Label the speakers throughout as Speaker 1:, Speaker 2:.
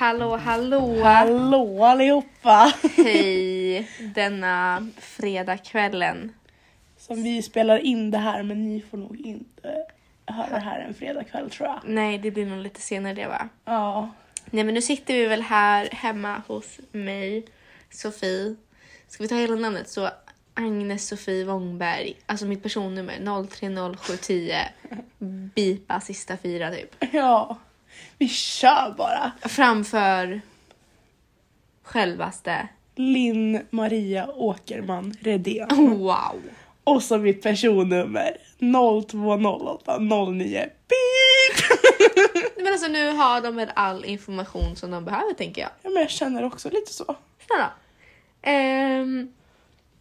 Speaker 1: Hallå, hallå!
Speaker 2: Hallå allihopa!
Speaker 1: Hej! Denna fredagskvällen.
Speaker 2: Som vi spelar in det här men ni får nog inte höra det här en fredagkväll tror jag.
Speaker 1: Nej, det blir nog lite senare det va?
Speaker 2: Ja,
Speaker 1: Nej, men nu sitter vi väl här hemma hos mig, Sofie. Ska vi ta hela namnet? Så Agnes Sofie Wångberg, alltså mitt personnummer 030710. Bipa sista fyra typ.
Speaker 2: ja. Vi kör bara!
Speaker 1: Framför självaste.
Speaker 2: Linn Maria Åkerman Redén.
Speaker 1: Wow!
Speaker 2: Och så mitt personnummer 0208 09 Beep!
Speaker 1: Men alltså nu har de väl all information som de behöver tänker jag.
Speaker 2: Ja men jag känner också lite så.
Speaker 1: Snälla. Ehm,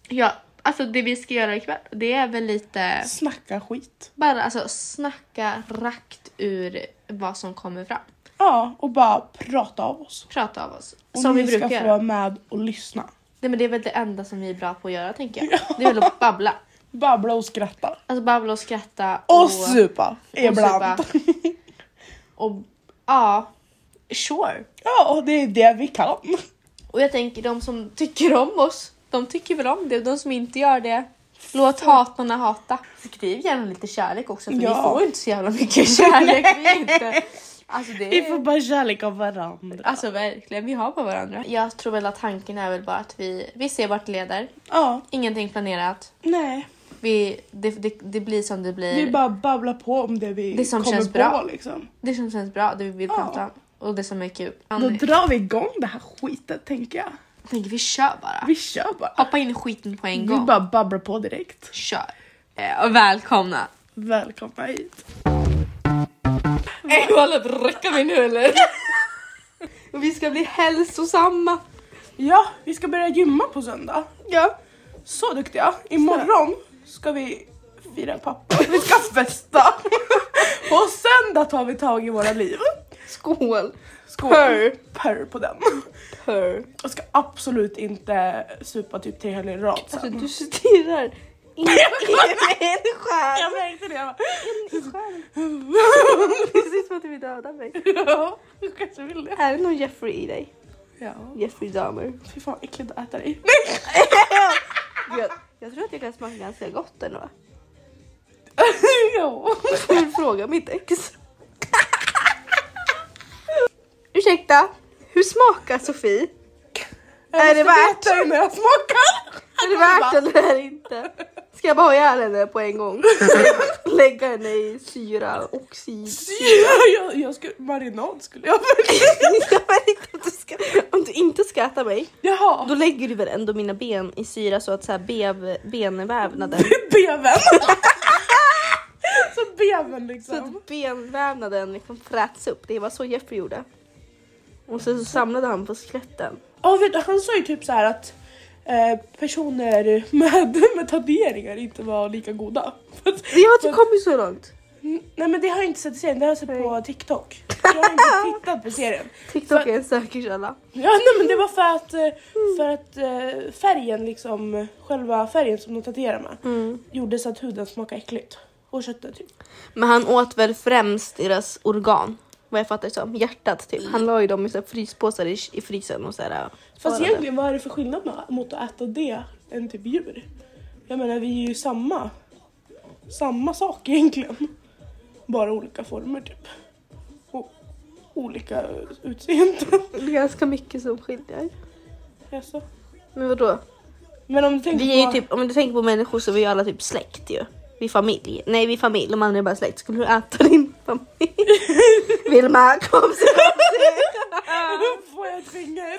Speaker 1: ja, alltså det vi ska göra ikväll, det är väl lite
Speaker 2: Snacka skit.
Speaker 1: bara alltså snacka rakt ur vad som kommer fram.
Speaker 2: Ja, och bara prata av oss.
Speaker 1: Prata av oss.
Speaker 2: Och
Speaker 1: som
Speaker 2: ni
Speaker 1: vi brukar
Speaker 2: ska få
Speaker 1: göra.
Speaker 2: vara med och lyssna.
Speaker 1: Nej, men det är väl det enda som vi är bra på att göra tänker jag. Det är väl att babbla.
Speaker 2: Babbla och skratta.
Speaker 1: Alltså babbla och skratta.
Speaker 2: Och, supa ibland.
Speaker 1: Och ja, sure.
Speaker 2: Ja, det är det vi kan.
Speaker 1: Och jag tänker de som tycker om oss, de tycker väl om det. De som inte gör det, låt hatarna hata. Skriv gärna lite kärlek också för vi
Speaker 2: Ja.
Speaker 1: får inte så jävla mycket kärlek. vi är inte. Alltså det
Speaker 2: Vi
Speaker 1: är...
Speaker 2: får bara kärlek av varandra.
Speaker 1: Alltså verkligen, vi har på varandra. Jag tror väl att tanken är väl bara att vi, vi ser vart det leder.
Speaker 2: ja,
Speaker 1: Ingenting planerat.
Speaker 2: nej.
Speaker 1: Vi, det, det, det blir som det blir.
Speaker 2: Vi bara babblar på om det vi
Speaker 1: Eh. Det som
Speaker 2: kommer
Speaker 1: känns
Speaker 2: på
Speaker 1: bra.
Speaker 2: liksom.
Speaker 1: Det som känns bra, det vi vill
Speaker 2: Ja.
Speaker 1: prata om. Och det som är kul.
Speaker 2: Då
Speaker 1: Annie,
Speaker 2: drar vi igång det här skiten tänker jag.
Speaker 1: jag tänker vi kör bara.
Speaker 2: Vi kör bara.
Speaker 1: Hoppa in i skiten på en
Speaker 2: Vi
Speaker 1: gång.
Speaker 2: bara babblar på direkt.
Speaker 1: Kör. Eh, Och välkomna.
Speaker 2: Välkomna hit.
Speaker 1: Är du alla bräcka mig nu eller? Och vi ska bli hälsosamma.
Speaker 2: Ja, vi ska börja gymma på söndag. Ja. Så duktiga. Imorgon ska vi fira pappa. Vi ska festa. på söndag tar vi tag i våra liv.
Speaker 1: Skål.
Speaker 2: Skål.
Speaker 1: Purr.
Speaker 2: Purr på den.
Speaker 1: Purr.
Speaker 2: Jag ska absolut inte supa typ tre helger i rad sen.
Speaker 1: Alltså du stirrar in i min
Speaker 2: Jag
Speaker 1: själ.
Speaker 2: märkte det. jag
Speaker 1: In i själen.
Speaker 2: bara-
Speaker 1: Det ser ut som att du vill döda mig.
Speaker 2: ja, du kanske vill det.
Speaker 1: Är det någon Jeffrey i dig?
Speaker 2: Ja.
Speaker 1: Jeffrey Dahmer.
Speaker 2: Fy fan äckligt att äta dig.
Speaker 1: Jag, jag tror att jag kan smaka ganska gott ändå. va?
Speaker 2: ja.
Speaker 1: Får du fråga mitt ex? Ursäkta, hur smakar Sofie?
Speaker 2: Jag
Speaker 1: Är det
Speaker 2: måste
Speaker 1: värt
Speaker 2: veta när jag smakar.
Speaker 1: Är det värt eller är det inte? Ska jag bara ha ihjäl henne på en gång? Lägga henne i syra, oxid.
Speaker 2: Ja, jag, jag skulle, marinad skulle jag välja.
Speaker 1: Jag vet inte om, du ska, om du inte ska äta mig, då
Speaker 2: Jaha.
Speaker 1: lägger du väl ändå mina ben i syra så att så här bev, benvävnaden,
Speaker 2: Beven. så beven
Speaker 1: så
Speaker 2: liksom.
Speaker 1: att benvävnaden liksom fräts upp. Det var så Jeffrey gjorde. Och sen så samlade han på skeletten.
Speaker 2: Ja vet du, han sa ju typ så här att eh, personer med, med tatueringar inte var lika goda. För att-
Speaker 1: Vi har inte
Speaker 2: för-
Speaker 1: kommit så långt.
Speaker 2: Mm, Nej men det har jag inte sett i serien, det har jag sett på TikTok. Jag har inte tittat på serien.
Speaker 1: TikTok är en säker källa.
Speaker 2: Ja nej, men det var för att, eh, för att eh, färgen liksom, själva färgen som de tatuerade med
Speaker 1: Mm.
Speaker 2: gjorde så att huden smakade äckligt. Och köttet typ.
Speaker 1: Men han åt väl främst deras organ. Vad jag fattar det som. Hjärtat typ. Han la ju dem i så här fryspåsar i, i frysen och så här. äh,
Speaker 2: Fast
Speaker 1: förvarade.
Speaker 2: egentligen vad är det för skillnad med- mot att äta det än typ djur? Jag menar vi är ju samma, samma sak egentligen. Bara olika former typ. Och olika utseenden.
Speaker 1: Det är ganska mycket som skiljer.
Speaker 2: Jaså?
Speaker 1: Men vadå?
Speaker 2: Men om du tänker
Speaker 1: Vi är ju
Speaker 2: på...
Speaker 1: typ, om du tänker på människor så är vi ju alla typ släkt ju. Vi är familj. Nej vi är familj och man är bara släkt. Skulle du äta din familj? Vilma kom så
Speaker 2: Får jag ett finger?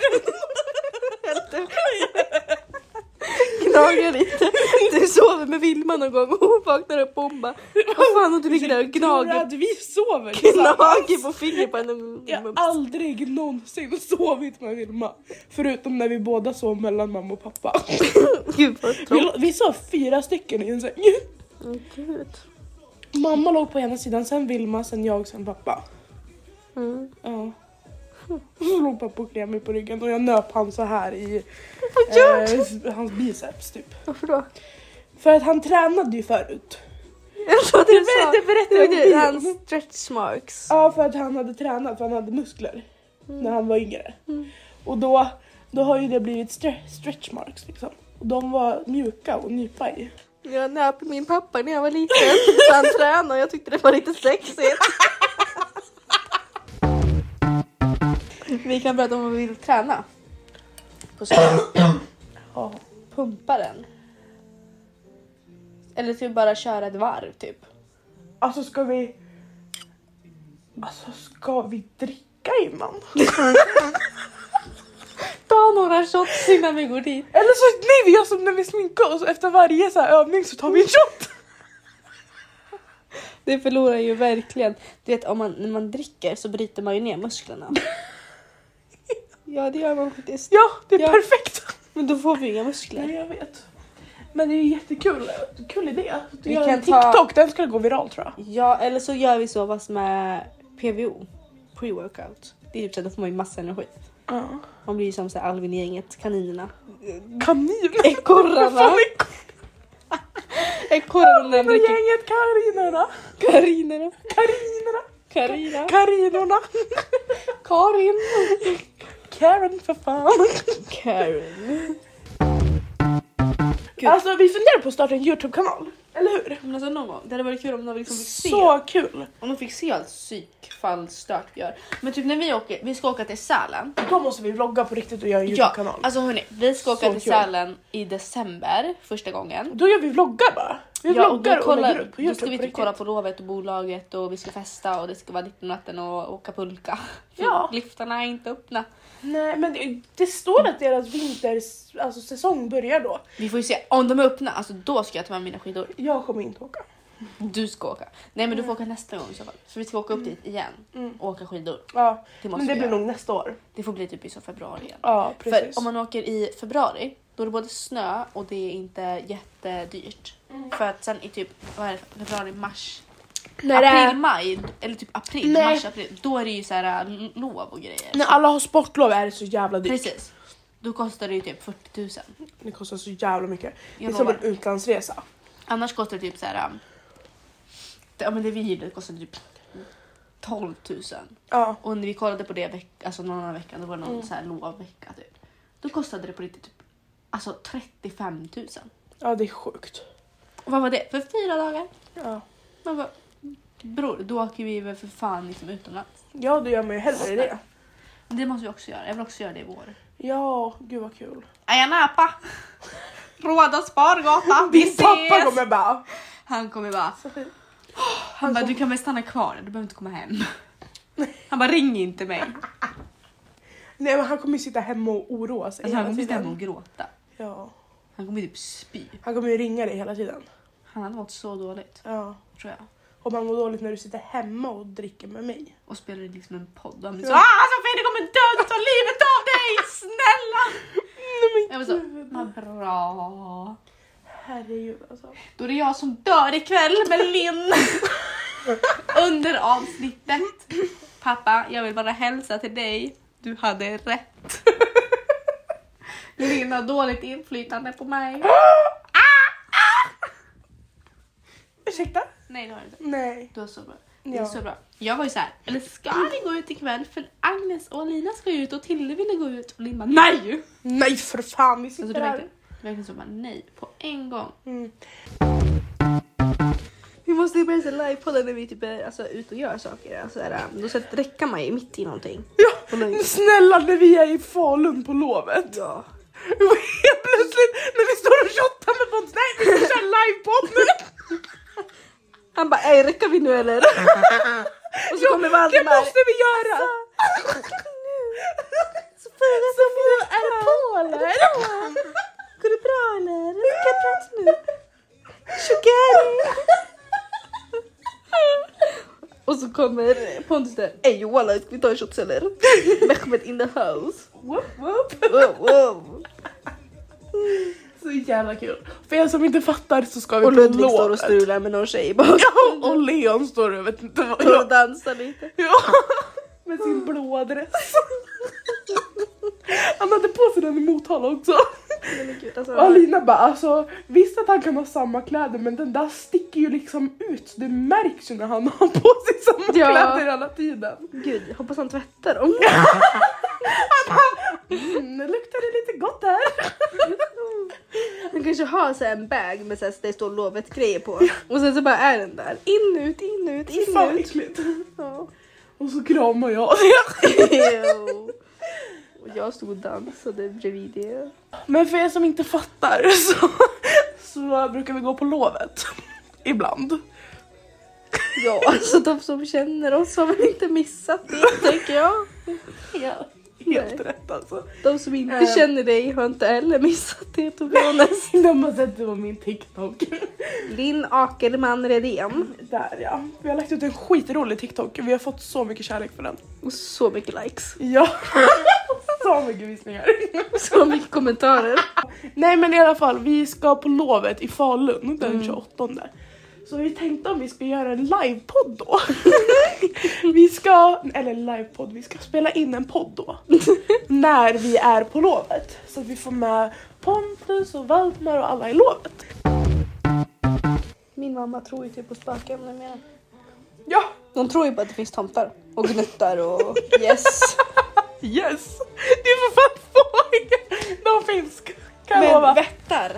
Speaker 1: gnagar lite. Du sover med Vilma någon gång och hon vaknar upp och hon bara Vad fan och du ligger där och
Speaker 2: Tror du
Speaker 1: gnager,
Speaker 2: att vi sover
Speaker 1: gnager på fingret på
Speaker 2: Jag har
Speaker 1: henne.
Speaker 2: aldrig någonsin sovit med Vilma. Förutom när vi båda sov mellan mamma och pappa.
Speaker 1: Gud vad tråkigt.
Speaker 2: Vi, vi sov fyra stycken i en säng.
Speaker 1: Åh, Mm, Gud.
Speaker 2: Mamma låg på ena sidan, sen Vilma, sen jag, sen pappa.
Speaker 1: Mm.
Speaker 2: Ja. Och så låg pappa och klev mig på ryggen och jag nöp han så här i
Speaker 1: gör
Speaker 2: eh, hans biceps typ.
Speaker 1: Varför då?
Speaker 2: För att han tränade ju förut.
Speaker 1: Så du
Speaker 2: sa-
Speaker 1: berättade, berättade
Speaker 2: det var
Speaker 1: du,
Speaker 2: bio.
Speaker 1: hans stretch marks.
Speaker 2: Ja, för att han hade tränat, för han hade muskler när han var yngre. Och då, då har ju det blivit stre- stretch marks liksom. Och de var mjuka och nypa i.
Speaker 1: Jag nöp min pappa när jag var liten så han tränade och jag tyckte det var lite sexigt. Vi kan berätta om vad vi vill träna. På sommaren.
Speaker 2: Ja.
Speaker 1: Pumpa den. Eller typ bara köra ett varv typ.
Speaker 2: Alltså ska vi... Alltså ska vi dricka innan?
Speaker 1: Ta några shots innan vi går dit.
Speaker 2: Eller så, nej vi gör som när vi sminkar oss, efter varje så här övning så tar vi en shot.
Speaker 1: Det förlorar ju verkligen. Du vet om man, när man dricker så bryter man ju ner musklerna. Ja det gör man faktiskt.
Speaker 2: Ja, det är
Speaker 1: Ja.
Speaker 2: perfekt.
Speaker 1: Men då får vi ju inga muskler.
Speaker 2: Nej jag vet. Men det är ju jättekul, kul idé.
Speaker 1: Vi
Speaker 2: Vi kan
Speaker 1: kan
Speaker 2: en
Speaker 1: ta-
Speaker 2: TikTok, den skulle gå viral tror jag.
Speaker 1: Ja, eller så gör vi så fast med PVO. Pre-workout. Det är typ så att då får man ju massa energi.
Speaker 2: Ja.
Speaker 1: Man blir ju som så här Alvin i gänget, kaninerna.
Speaker 2: Kanin! Vad
Speaker 1: Ekorrarna.
Speaker 2: fan är
Speaker 1: Ekorrarna när de
Speaker 2: Kanin och
Speaker 1: dricker.
Speaker 2: gänget Karinorna!
Speaker 1: Karinerna.
Speaker 2: Karinorna!
Speaker 1: Karina.
Speaker 2: Karinorna!
Speaker 1: Karin.
Speaker 2: Karen för fan!
Speaker 1: Karen. Gud.
Speaker 2: Alltså vi funderar på att starta en YouTube-kanal, eller hur?
Speaker 1: Men alltså någon gång, det hade varit kul om de liksom fick se.
Speaker 2: Så kul!
Speaker 1: Om de fick se allt psykfallstört vi gör. Men typ när vi åker, vi ska åka till Sälen.
Speaker 2: Då måste vi vlogga på riktigt och göra en
Speaker 1: Ja,
Speaker 2: YouTube-kanal.
Speaker 1: alltså hörni, vi ska åka
Speaker 2: Så
Speaker 1: till
Speaker 2: kul.
Speaker 1: Sälen i december första gången.
Speaker 2: Då gör vi vloggar bara. Vi
Speaker 1: Ja, och
Speaker 2: vloggar
Speaker 1: då,
Speaker 2: och,
Speaker 1: kollar,
Speaker 2: lägger upp
Speaker 1: då ska
Speaker 2: på Youtube
Speaker 1: vi
Speaker 2: på
Speaker 1: typ
Speaker 2: riktigt.
Speaker 1: kolla på lovet och bolaget och vi ska festa och det ska vara ditt på natten och åka pulka. För
Speaker 2: Ja.
Speaker 1: Liftarna är inte öppna.
Speaker 2: Nej men det, det står att deras vintersäsong alltså, säsong börjar då.
Speaker 1: Vi får ju se om de är öppna, alltså då ska jag ta med mina skidor.
Speaker 2: Jag kommer inte åka.
Speaker 1: Du ska åka. Nej men du får åka nästa gång i så fall. För vi ska åka upp dit igen
Speaker 2: Mm.
Speaker 1: och åka skidor.
Speaker 2: Ja,
Speaker 1: Det måste
Speaker 2: men det
Speaker 1: vi
Speaker 2: blir
Speaker 1: göra.
Speaker 2: nog nästa år.
Speaker 1: Det får bli typ i så februari igen.
Speaker 2: Ja precis.
Speaker 1: För om man åker i februari då är det både snö och det är inte jättedyrt. För att sen i typ vad är det, februari, mars,
Speaker 2: när, det
Speaker 1: april,
Speaker 2: är,
Speaker 1: maj eller typ april,
Speaker 2: Nej.
Speaker 1: mars, april. Då är det ju så här l- lov och grejer.
Speaker 2: när alla har sportlov är det så jävla dyrt.
Speaker 1: Precis. Då kostar det ju typ 40 000.
Speaker 2: Det kostar så jävla mycket. Det är
Speaker 1: Jag
Speaker 2: som
Speaker 1: lovar.
Speaker 2: en utlandsresa.
Speaker 1: Annars kostar det typ så här. um, det- Ja men det vi gjorde det kostade typ 12 000.
Speaker 2: Ja.
Speaker 1: Och när vi kollade på det veck- alltså någon annan vecka, då var det någon så här lovvecka typ. Då kostade det på riktigt typ alltså 35 000.
Speaker 2: ja, det är sjukt.
Speaker 1: Och vad var det? För fyra dagar?
Speaker 2: Ja,
Speaker 1: Man bara, bror då åker vi väl för fan liksom utomlands.
Speaker 2: ja då gör man ju hellre det.
Speaker 1: Det måste vi också göra. Jag vill också göra det i vår.
Speaker 2: Ja, gud vad kul.
Speaker 1: Ayanapa! Råda Spargatan, vi
Speaker 2: Din
Speaker 1: ses!
Speaker 2: pappa kommer bara...
Speaker 1: Han kommer bara
Speaker 2: Sofie.
Speaker 1: Han bara, du kan väl stanna kvar där, du behöver inte komma hem. Han bara, ring inte mig. Alltså,
Speaker 2: Nej men han kommer ju sitta hemma och oroa sig
Speaker 1: Alltså, han
Speaker 2: hela
Speaker 1: kommer sitta hemma
Speaker 2: tiden.
Speaker 1: och gråta.
Speaker 2: Ja.
Speaker 1: Han kommer typ spy.
Speaker 2: Han kommer ju ringa dig hela tiden.
Speaker 1: Han hade mått så dåligt,
Speaker 2: Ja.
Speaker 1: tror jag.
Speaker 2: Och man mår dåligt när du sitter hemma och dricker med mig.
Speaker 1: Och spelade liksom en podd. Och han blev så,
Speaker 2: Ja.
Speaker 1: ah Sofie du kommer dö, ta livet av dig, snälla!
Speaker 2: Nej
Speaker 1: Jag
Speaker 2: men
Speaker 1: var så,
Speaker 2: gud.
Speaker 1: "Vad bra.
Speaker 2: Herregud alltså.
Speaker 1: Då är det jag som dör ikväll med Linn. Under avsnittet. Pappa, jag vill bara hälsa till dig. Du hade rätt. Linn har dåligt inflytande på mig. Ah!
Speaker 2: Ursäkta?
Speaker 1: Nej det har du inte.
Speaker 2: Nej.
Speaker 1: Du har så bra. Det är
Speaker 2: Ja.
Speaker 1: så bra. Jag var ju så här, eller ska ni gå ut ikväll? För Agnes och Alina ska ju ut och Tilde ville gå ut. Och Linn bara, nej!
Speaker 2: Nej för fan vi
Speaker 1: Alltså
Speaker 2: sitter
Speaker 1: det var verkligen,
Speaker 2: här.
Speaker 1: verkligen så bara, nej på en gång.
Speaker 2: Mm.
Speaker 1: Vi måste börja se livepodden när vi typ är alltså, ute och gör saker. Alltså, är det- då sätter- räcker man ju mitt i någonting.
Speaker 2: Ja,
Speaker 1: Och nej.
Speaker 2: snälla när vi är i Falun på lovet.
Speaker 1: Ja.
Speaker 2: Helt plötsligt när vi står och shottar med podd. Nej vi ska köra livepodd nu.
Speaker 1: Han bara, ej räcker vi nu eller? och så kommer
Speaker 2: Det
Speaker 1: Valdemar. Alltså,
Speaker 2: måste vi göra.
Speaker 1: Sofia, är det på eller? Går det bra eller? Kan jag prata nu? Sugar! Och så kommer Pontus där. Ey walla, ska vi ta en shot eller? Mehmet in the house.
Speaker 2: Woop, woop.
Speaker 1: Wow, wow.
Speaker 2: Så jävla kul. För er som inte fattar så ska vi
Speaker 1: Och
Speaker 2: på
Speaker 1: Ludvig står och
Speaker 2: lovet.
Speaker 1: strular med någon tjej bakom.
Speaker 2: Ja, och Leon står och vet inte vad
Speaker 1: Och dansar lite.
Speaker 2: Ja, med sin blåa dress. Han hade på sig den i Motala också.
Speaker 1: Nej, men gud, alltså.
Speaker 2: Och Alina bara alltså visst att han kan ha samma kläder men den där sticker ju liksom ut. Det märks ju när han har på sig samma
Speaker 1: Ja.
Speaker 2: kläder hela tiden.
Speaker 1: Gud, jag hoppas han tvättar dem.
Speaker 2: Mm, nu luktar det lite gott här.
Speaker 1: Han kanske har så här en bag med så här, det står lovet-grejer på. Och sen så bara är den där. In, ut, in, ut,
Speaker 2: Fy
Speaker 1: in,
Speaker 2: fan vad
Speaker 1: ut.
Speaker 2: äckligt.
Speaker 1: Ja.
Speaker 2: Och så kramar jag det.
Speaker 1: Ew. Och jag stod och dansade bredvid det.
Speaker 2: Men för er som inte fattar så, så brukar vi gå på lovet. Ibland.
Speaker 1: Ja, alltså de som känner oss har väl inte missat det, tänker jag.
Speaker 2: Ja. Helt
Speaker 1: Nej.
Speaker 2: rätt alltså.
Speaker 1: De som inte
Speaker 2: Eh.
Speaker 1: känner dig har inte heller missat det, Tobias.
Speaker 2: De har sett det på min TikTok.
Speaker 1: Linn Akerman Redén.
Speaker 2: Där ja. Vi har lagt ut en skitrolig TikTok. Vi har fått så mycket kärlek för den.
Speaker 1: Och så mycket likes.
Speaker 2: Ja. så mycket visningar.
Speaker 1: Så mycket kommentarer.
Speaker 2: Nej men i alla fall, vi ska på lovet i Falun den 28. Så vi tänkte om vi ska göra en livepodd då. vi ska, eller livepodd, vi ska spela in en podd då. när vi är på lovet. Så att vi får med Pontus och Valdemar och alla i lovet.
Speaker 1: Min mamma tror ju typ på spöken numera.
Speaker 2: Ja,
Speaker 1: De tror ju på att det finns tomtar och gnuttar och yes.
Speaker 2: yes! Det är för fan fågel! De finns, kan jag
Speaker 1: Men
Speaker 2: lova.
Speaker 1: vättar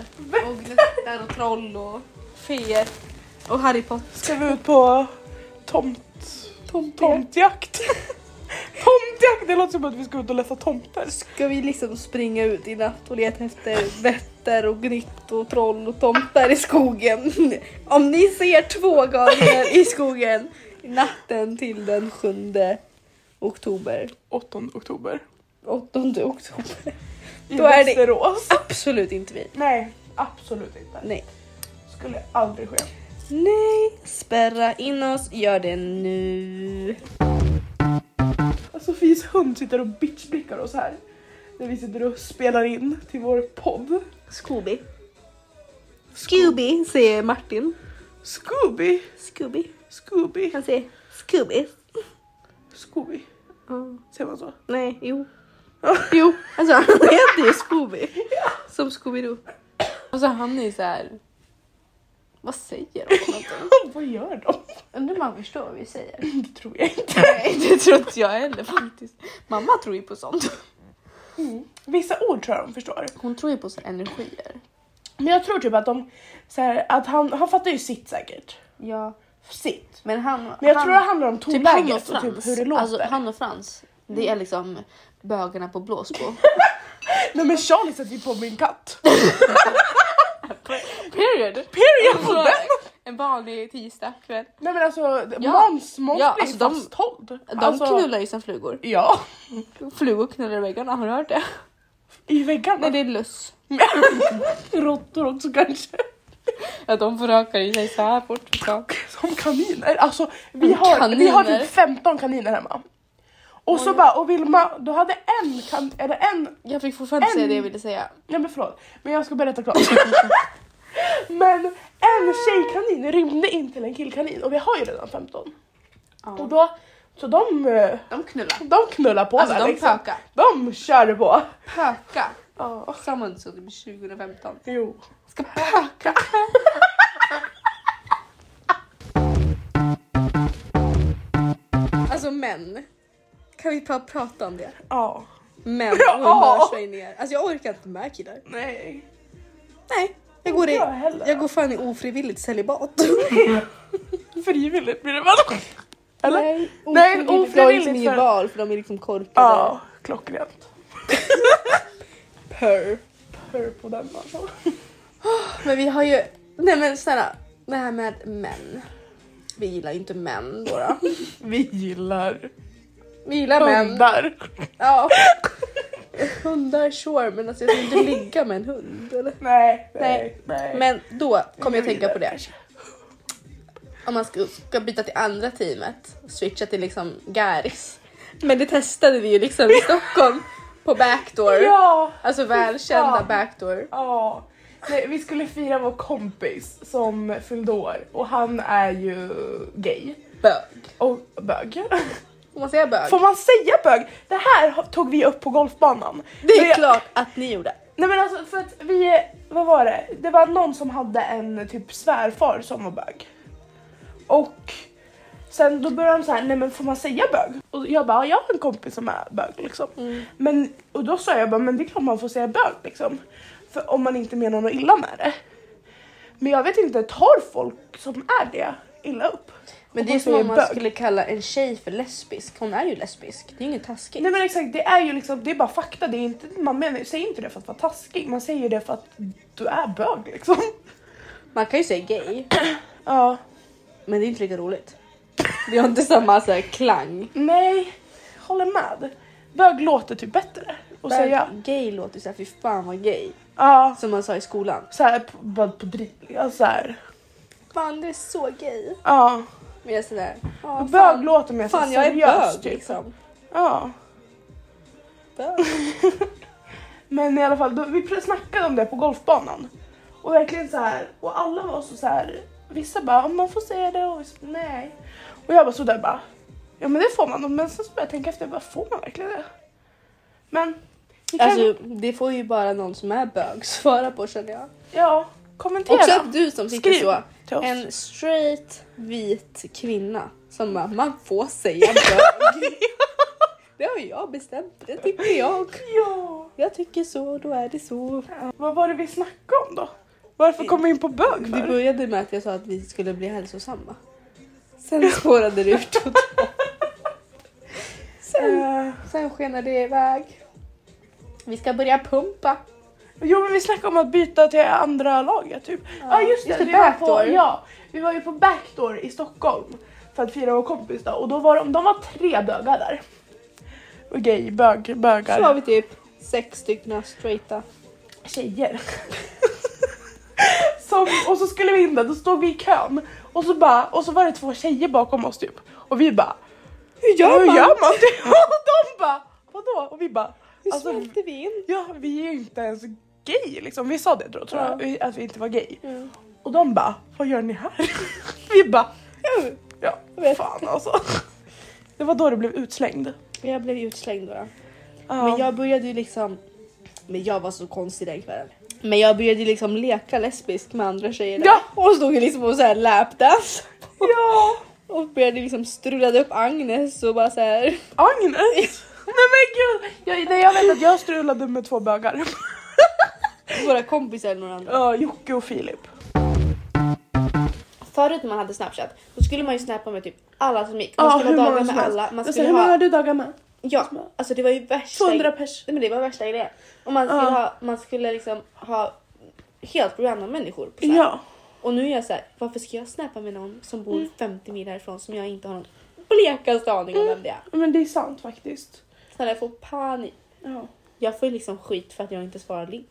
Speaker 1: och gnuttar och troll och feer och Harry Potter.
Speaker 2: Ska vi ut på tomt... Tomtjakt. Tomtjakt, det låter som att vi ska ut och leta tomter.
Speaker 1: Ska vi liksom springa ut i natt och leta efter vättar och gnytt och troll och tomtar i skogen? Om ni ser två galningar i skogen natten till den 7 oktober,
Speaker 2: 8 oktober.
Speaker 1: 8 oktober,
Speaker 2: I
Speaker 1: Då är det-
Speaker 2: Västerås.
Speaker 1: absolut inte vi.
Speaker 2: Nej, absolut inte.
Speaker 1: Nej.
Speaker 2: Skulle aldrig ske.
Speaker 1: Nej, spärra in oss, gör det nu.
Speaker 2: Sofies Alltså, hund sitter och bitchblickar oss här. När vi sitter och spelar in till vår podd.
Speaker 1: Scooby. Scooby säger Martin.
Speaker 2: Scooby!
Speaker 1: Scooby.
Speaker 2: Scooby!
Speaker 1: Han säger Scooby.
Speaker 2: Scooby. Säger man så?
Speaker 1: Nej, jo. Jo, alltså han heter ju Scooby. Som Scooby-Doo. Alltså han är ju såhär... Vad säger de? för någonting?
Speaker 2: Vad gör de?
Speaker 1: Undrar om han förstår vad vi säger.
Speaker 2: Det tror jag inte.
Speaker 1: Nej, det tror inte jag heller faktiskt. Mamma tror ju på sånt.
Speaker 2: Vissa ord tror jag de förstår.
Speaker 1: Hon tror ju på så här energier.
Speaker 2: Men jag tror typ att de... Så här, att han, han fattar ju sitt säkert.
Speaker 1: Ja.
Speaker 2: Sitt.
Speaker 1: Men han...
Speaker 2: Men jag
Speaker 1: han,
Speaker 2: tror det handlar om
Speaker 3: Typ han och
Speaker 2: tonläget och
Speaker 3: Frans.
Speaker 2: typ hur det låter.
Speaker 3: Alltså han och Frans. Det
Speaker 1: Mm.
Speaker 3: är liksom bögarna på Blåsbo.
Speaker 2: Nej men Charlie sätter ju på min katt.
Speaker 3: Period!
Speaker 2: Period på
Speaker 3: Alltså,
Speaker 2: den!
Speaker 3: En vanlig tisdagkväll.
Speaker 2: Nej men alltså
Speaker 3: Ja.
Speaker 2: Måns Måns
Speaker 3: Ja,
Speaker 2: blir
Speaker 3: alltså, de-
Speaker 2: fasthålld.
Speaker 3: De
Speaker 2: alltså,
Speaker 3: knullar ju som flugor.
Speaker 2: Ja,
Speaker 3: Flugor knullar i väggarna, har du hört det?
Speaker 2: i väggarna.
Speaker 3: Nej det är löss.
Speaker 2: Råttor också kanske.
Speaker 3: Ja de förökar ju sig så här fort. Så.
Speaker 2: Som kaniner. Alltså vi
Speaker 3: Men
Speaker 2: har, vi har
Speaker 3: kaniner.
Speaker 2: typ 15 kaniner hemma. Och så bara, och Vilma, du hade en kan, eller en,
Speaker 3: Jag fick fortfarande
Speaker 2: En-
Speaker 3: säga det jag ville säga.
Speaker 2: nej men förlåt, men jag ska berätta klart. men en tjejkanin rymde in till en killkanin och vi har ju redan 15. Och då, så de, eh,
Speaker 3: De knullar.
Speaker 2: de knullar på
Speaker 3: Alltså
Speaker 2: där
Speaker 3: de
Speaker 2: liksom.
Speaker 3: pökar.
Speaker 2: De kör på.
Speaker 3: Pöka.
Speaker 2: Ja.
Speaker 3: Someone så det blir 2015.
Speaker 2: Jo.
Speaker 3: Ska pöka.
Speaker 1: Alltså män. Kan vi bara prata om det?
Speaker 2: Ja.
Speaker 1: Män
Speaker 2: Ja.
Speaker 1: och humörsvängningar. Alltså jag orkar inte med killar.
Speaker 2: Nej.
Speaker 1: Nej, jag går, i,
Speaker 2: jag heller.
Speaker 1: jag går fan i ofrivilligt celibat.
Speaker 2: Frivilligt blir det väl? Eller?
Speaker 1: Nej,
Speaker 2: Nej,
Speaker 1: ofrivilligt.
Speaker 2: ofrivilligt
Speaker 1: Jag har liksom
Speaker 2: för-
Speaker 1: inget val för de är liksom korkade.
Speaker 2: Ja, klockrent.
Speaker 1: Per.
Speaker 2: Hör på den alltså.
Speaker 1: Men vi har ju... Nej men snälla, det här med män. Vi gillar ju inte män då. då.
Speaker 2: Vi gillar
Speaker 1: Vi gillar män.
Speaker 2: hundar.
Speaker 1: Ja. Hundar sure, men alltså jag ska inte ligga med en hund. Eller?
Speaker 2: Nej,
Speaker 1: Nej.
Speaker 2: nej.
Speaker 1: Men då kommer jag
Speaker 2: Vi
Speaker 1: tänka på
Speaker 2: gillar
Speaker 1: det. Om man ska, ska byta till andra teamet, switcha till liksom Garis. Men det testade vi ju liksom i Stockholm på backdoor.
Speaker 2: Ja!
Speaker 1: Alltså välkända
Speaker 2: fan.
Speaker 1: backdoor.
Speaker 2: ja. Nej, vi skulle fira vår kompis som fyllde år och han är ju gay
Speaker 1: Bög.
Speaker 2: och bög.
Speaker 1: Får man säga bög?
Speaker 2: Får man säga bög? Det här tog vi upp på golfbanan.
Speaker 1: Det
Speaker 2: Men
Speaker 1: är
Speaker 2: jag-
Speaker 1: klart att ni gjorde.
Speaker 2: Nej men alltså för att vi, vad var det? Det var någon som hade en typ svärfar som var bög. Och sen då började de så här, nej men får man säga bög? Och jag bara, "Ja, jag har en kompis som är bög liksom.
Speaker 1: Mm.
Speaker 2: Men, och då sa jag bara, men det är klart man får säga bög liksom. För om man inte menar något illa med det. Men jag vet inte, tar folk som är det illa upp?
Speaker 1: Men
Speaker 2: Och
Speaker 1: det är
Speaker 2: man
Speaker 1: som
Speaker 2: säger
Speaker 1: om man
Speaker 2: bög.
Speaker 1: skulle kalla en tjej för lesbisk. Hon är ju lesbisk. Det är ju inget taskigt.
Speaker 2: Nej men exakt, det är ju liksom, det är bara fakta. Det är inte, man menar, säger inte det för att vara taskig, man säger det för att du är bög liksom.
Speaker 1: Man kan ju säga gay,
Speaker 2: Ja.
Speaker 1: men det är inte lika roligt. Det har inte samma så här, klang.
Speaker 2: Nej, håller med. Bög låter typ bättre att säga.
Speaker 1: Gay låter ju såhär, fy fan vad gay.
Speaker 2: Ja,
Speaker 1: Som man sa i skolan.
Speaker 2: såhär på, bara på driv. Ja, såhär.
Speaker 1: Fan det är så gay.
Speaker 2: Ja.
Speaker 1: Men jag är sådär, ja,
Speaker 2: Bög
Speaker 1: fan,
Speaker 2: låter mer så
Speaker 1: fan jag är
Speaker 2: seriös
Speaker 1: bög
Speaker 2: typ.
Speaker 1: liksom.
Speaker 2: Ja.
Speaker 1: Bög.
Speaker 2: Men i alla fall, då, vi pr- snackade om det på golfbanan. Och verkligen så här, och alla var så, så här, vissa bara om man får säga det och vissa nej. Och jag bara så där bara, ja men det får man. Men sen så började jag tänka efter, bara, får man verkligen det? Men, vi kan,
Speaker 1: Alltså det får ju bara någon som är bög svara på känner jag.
Speaker 2: ja, kommentera.
Speaker 1: Också att du som sitter
Speaker 2: Skriv
Speaker 1: så.
Speaker 2: till oss.
Speaker 1: En straight vit kvinna som bara, man får säga bög. det har jag bestämt, det tycker jag.
Speaker 2: Ja.
Speaker 1: Jag tycker så, då är det så.
Speaker 2: Vad var det vi snackade om då? Varför kom vi in på bög
Speaker 1: Det
Speaker 2: för?
Speaker 1: började med att jag sa att vi skulle bli hälsosamma. Sen spårade det ut totalt. Sen,
Speaker 2: Eh,
Speaker 1: sen skenade det iväg. Vi ska börja pumpa.
Speaker 2: jo men vi snackade om att byta till andra laget typ. Ja ah, just det,
Speaker 1: just det,
Speaker 2: vi, var på,
Speaker 1: backdoor.
Speaker 2: ja, vi var ju på Backdoor i Stockholm för att fira vår kompis då och då var de, de var tre bögar där. Och gay, bög,
Speaker 1: Så har
Speaker 2: bögar.
Speaker 1: vi typ sex stycken straighta.
Speaker 2: Tjejer. Som, och så skulle vi in där, då stod vi i kön och så, bara, och så var det två tjejer bakom oss typ och vi bara
Speaker 1: Hur
Speaker 2: hur gör man det? Och de bara vadå? Och vi bara
Speaker 1: Hur
Speaker 2: alltså,
Speaker 1: smälte vi in?
Speaker 2: Ja, vi är ju inte ens gay liksom. Vi sa det då tror
Speaker 1: Ja.
Speaker 2: jag, vi- att vi inte var gay.
Speaker 1: Mm.
Speaker 2: Och de bara, vad gör ni här? vi bara, ja,
Speaker 1: Jag vet.
Speaker 2: fan alltså. Det var då det blev utslängd.
Speaker 1: Jag blev utslängd då. då.
Speaker 2: Ja.
Speaker 1: Men jag började ju liksom... Men jag var så konstig den kvällen. Men jag började ju liksom leka lesbisk med andra tjejer där.
Speaker 2: Ja.
Speaker 1: Och stod ju liksom och såhär lapdance.
Speaker 2: ja,
Speaker 1: Och började liksom strulade upp Agnes och bara såhär...
Speaker 2: Agnes! Nej men gud! Jag, nej, jag vet att jag strulade med två bögar.
Speaker 1: Våra kompisar eller några andra.
Speaker 2: Ja, Jocke och Filip.
Speaker 1: Förut när man hade snapchat då skulle man ju snappa med typ alla som gick. Man
Speaker 2: Ja,
Speaker 1: skulle ha dagar med
Speaker 2: som helst.
Speaker 1: alla. Man
Speaker 2: Jag sa,
Speaker 1: skulle
Speaker 2: hur många
Speaker 1: ha...
Speaker 2: har du dagar med?
Speaker 1: Ja, alltså det var ju värsta...
Speaker 2: 200 pers.
Speaker 1: Nej, men det var värsta grejen. Och man
Speaker 2: Ja.
Speaker 1: skulle, ha, man skulle liksom ha helt random människor på Snap.
Speaker 2: Ja.
Speaker 1: Och nu är jag så här, varför ska jag snappa med någon som bor 50 mil härifrån som jag inte har någon blekaste aning om vem det är?
Speaker 2: Men det är sant faktiskt.
Speaker 1: Så jag får panik.
Speaker 2: Ja.
Speaker 1: Jag får ju liksom skit för att jag inte svarar Linn.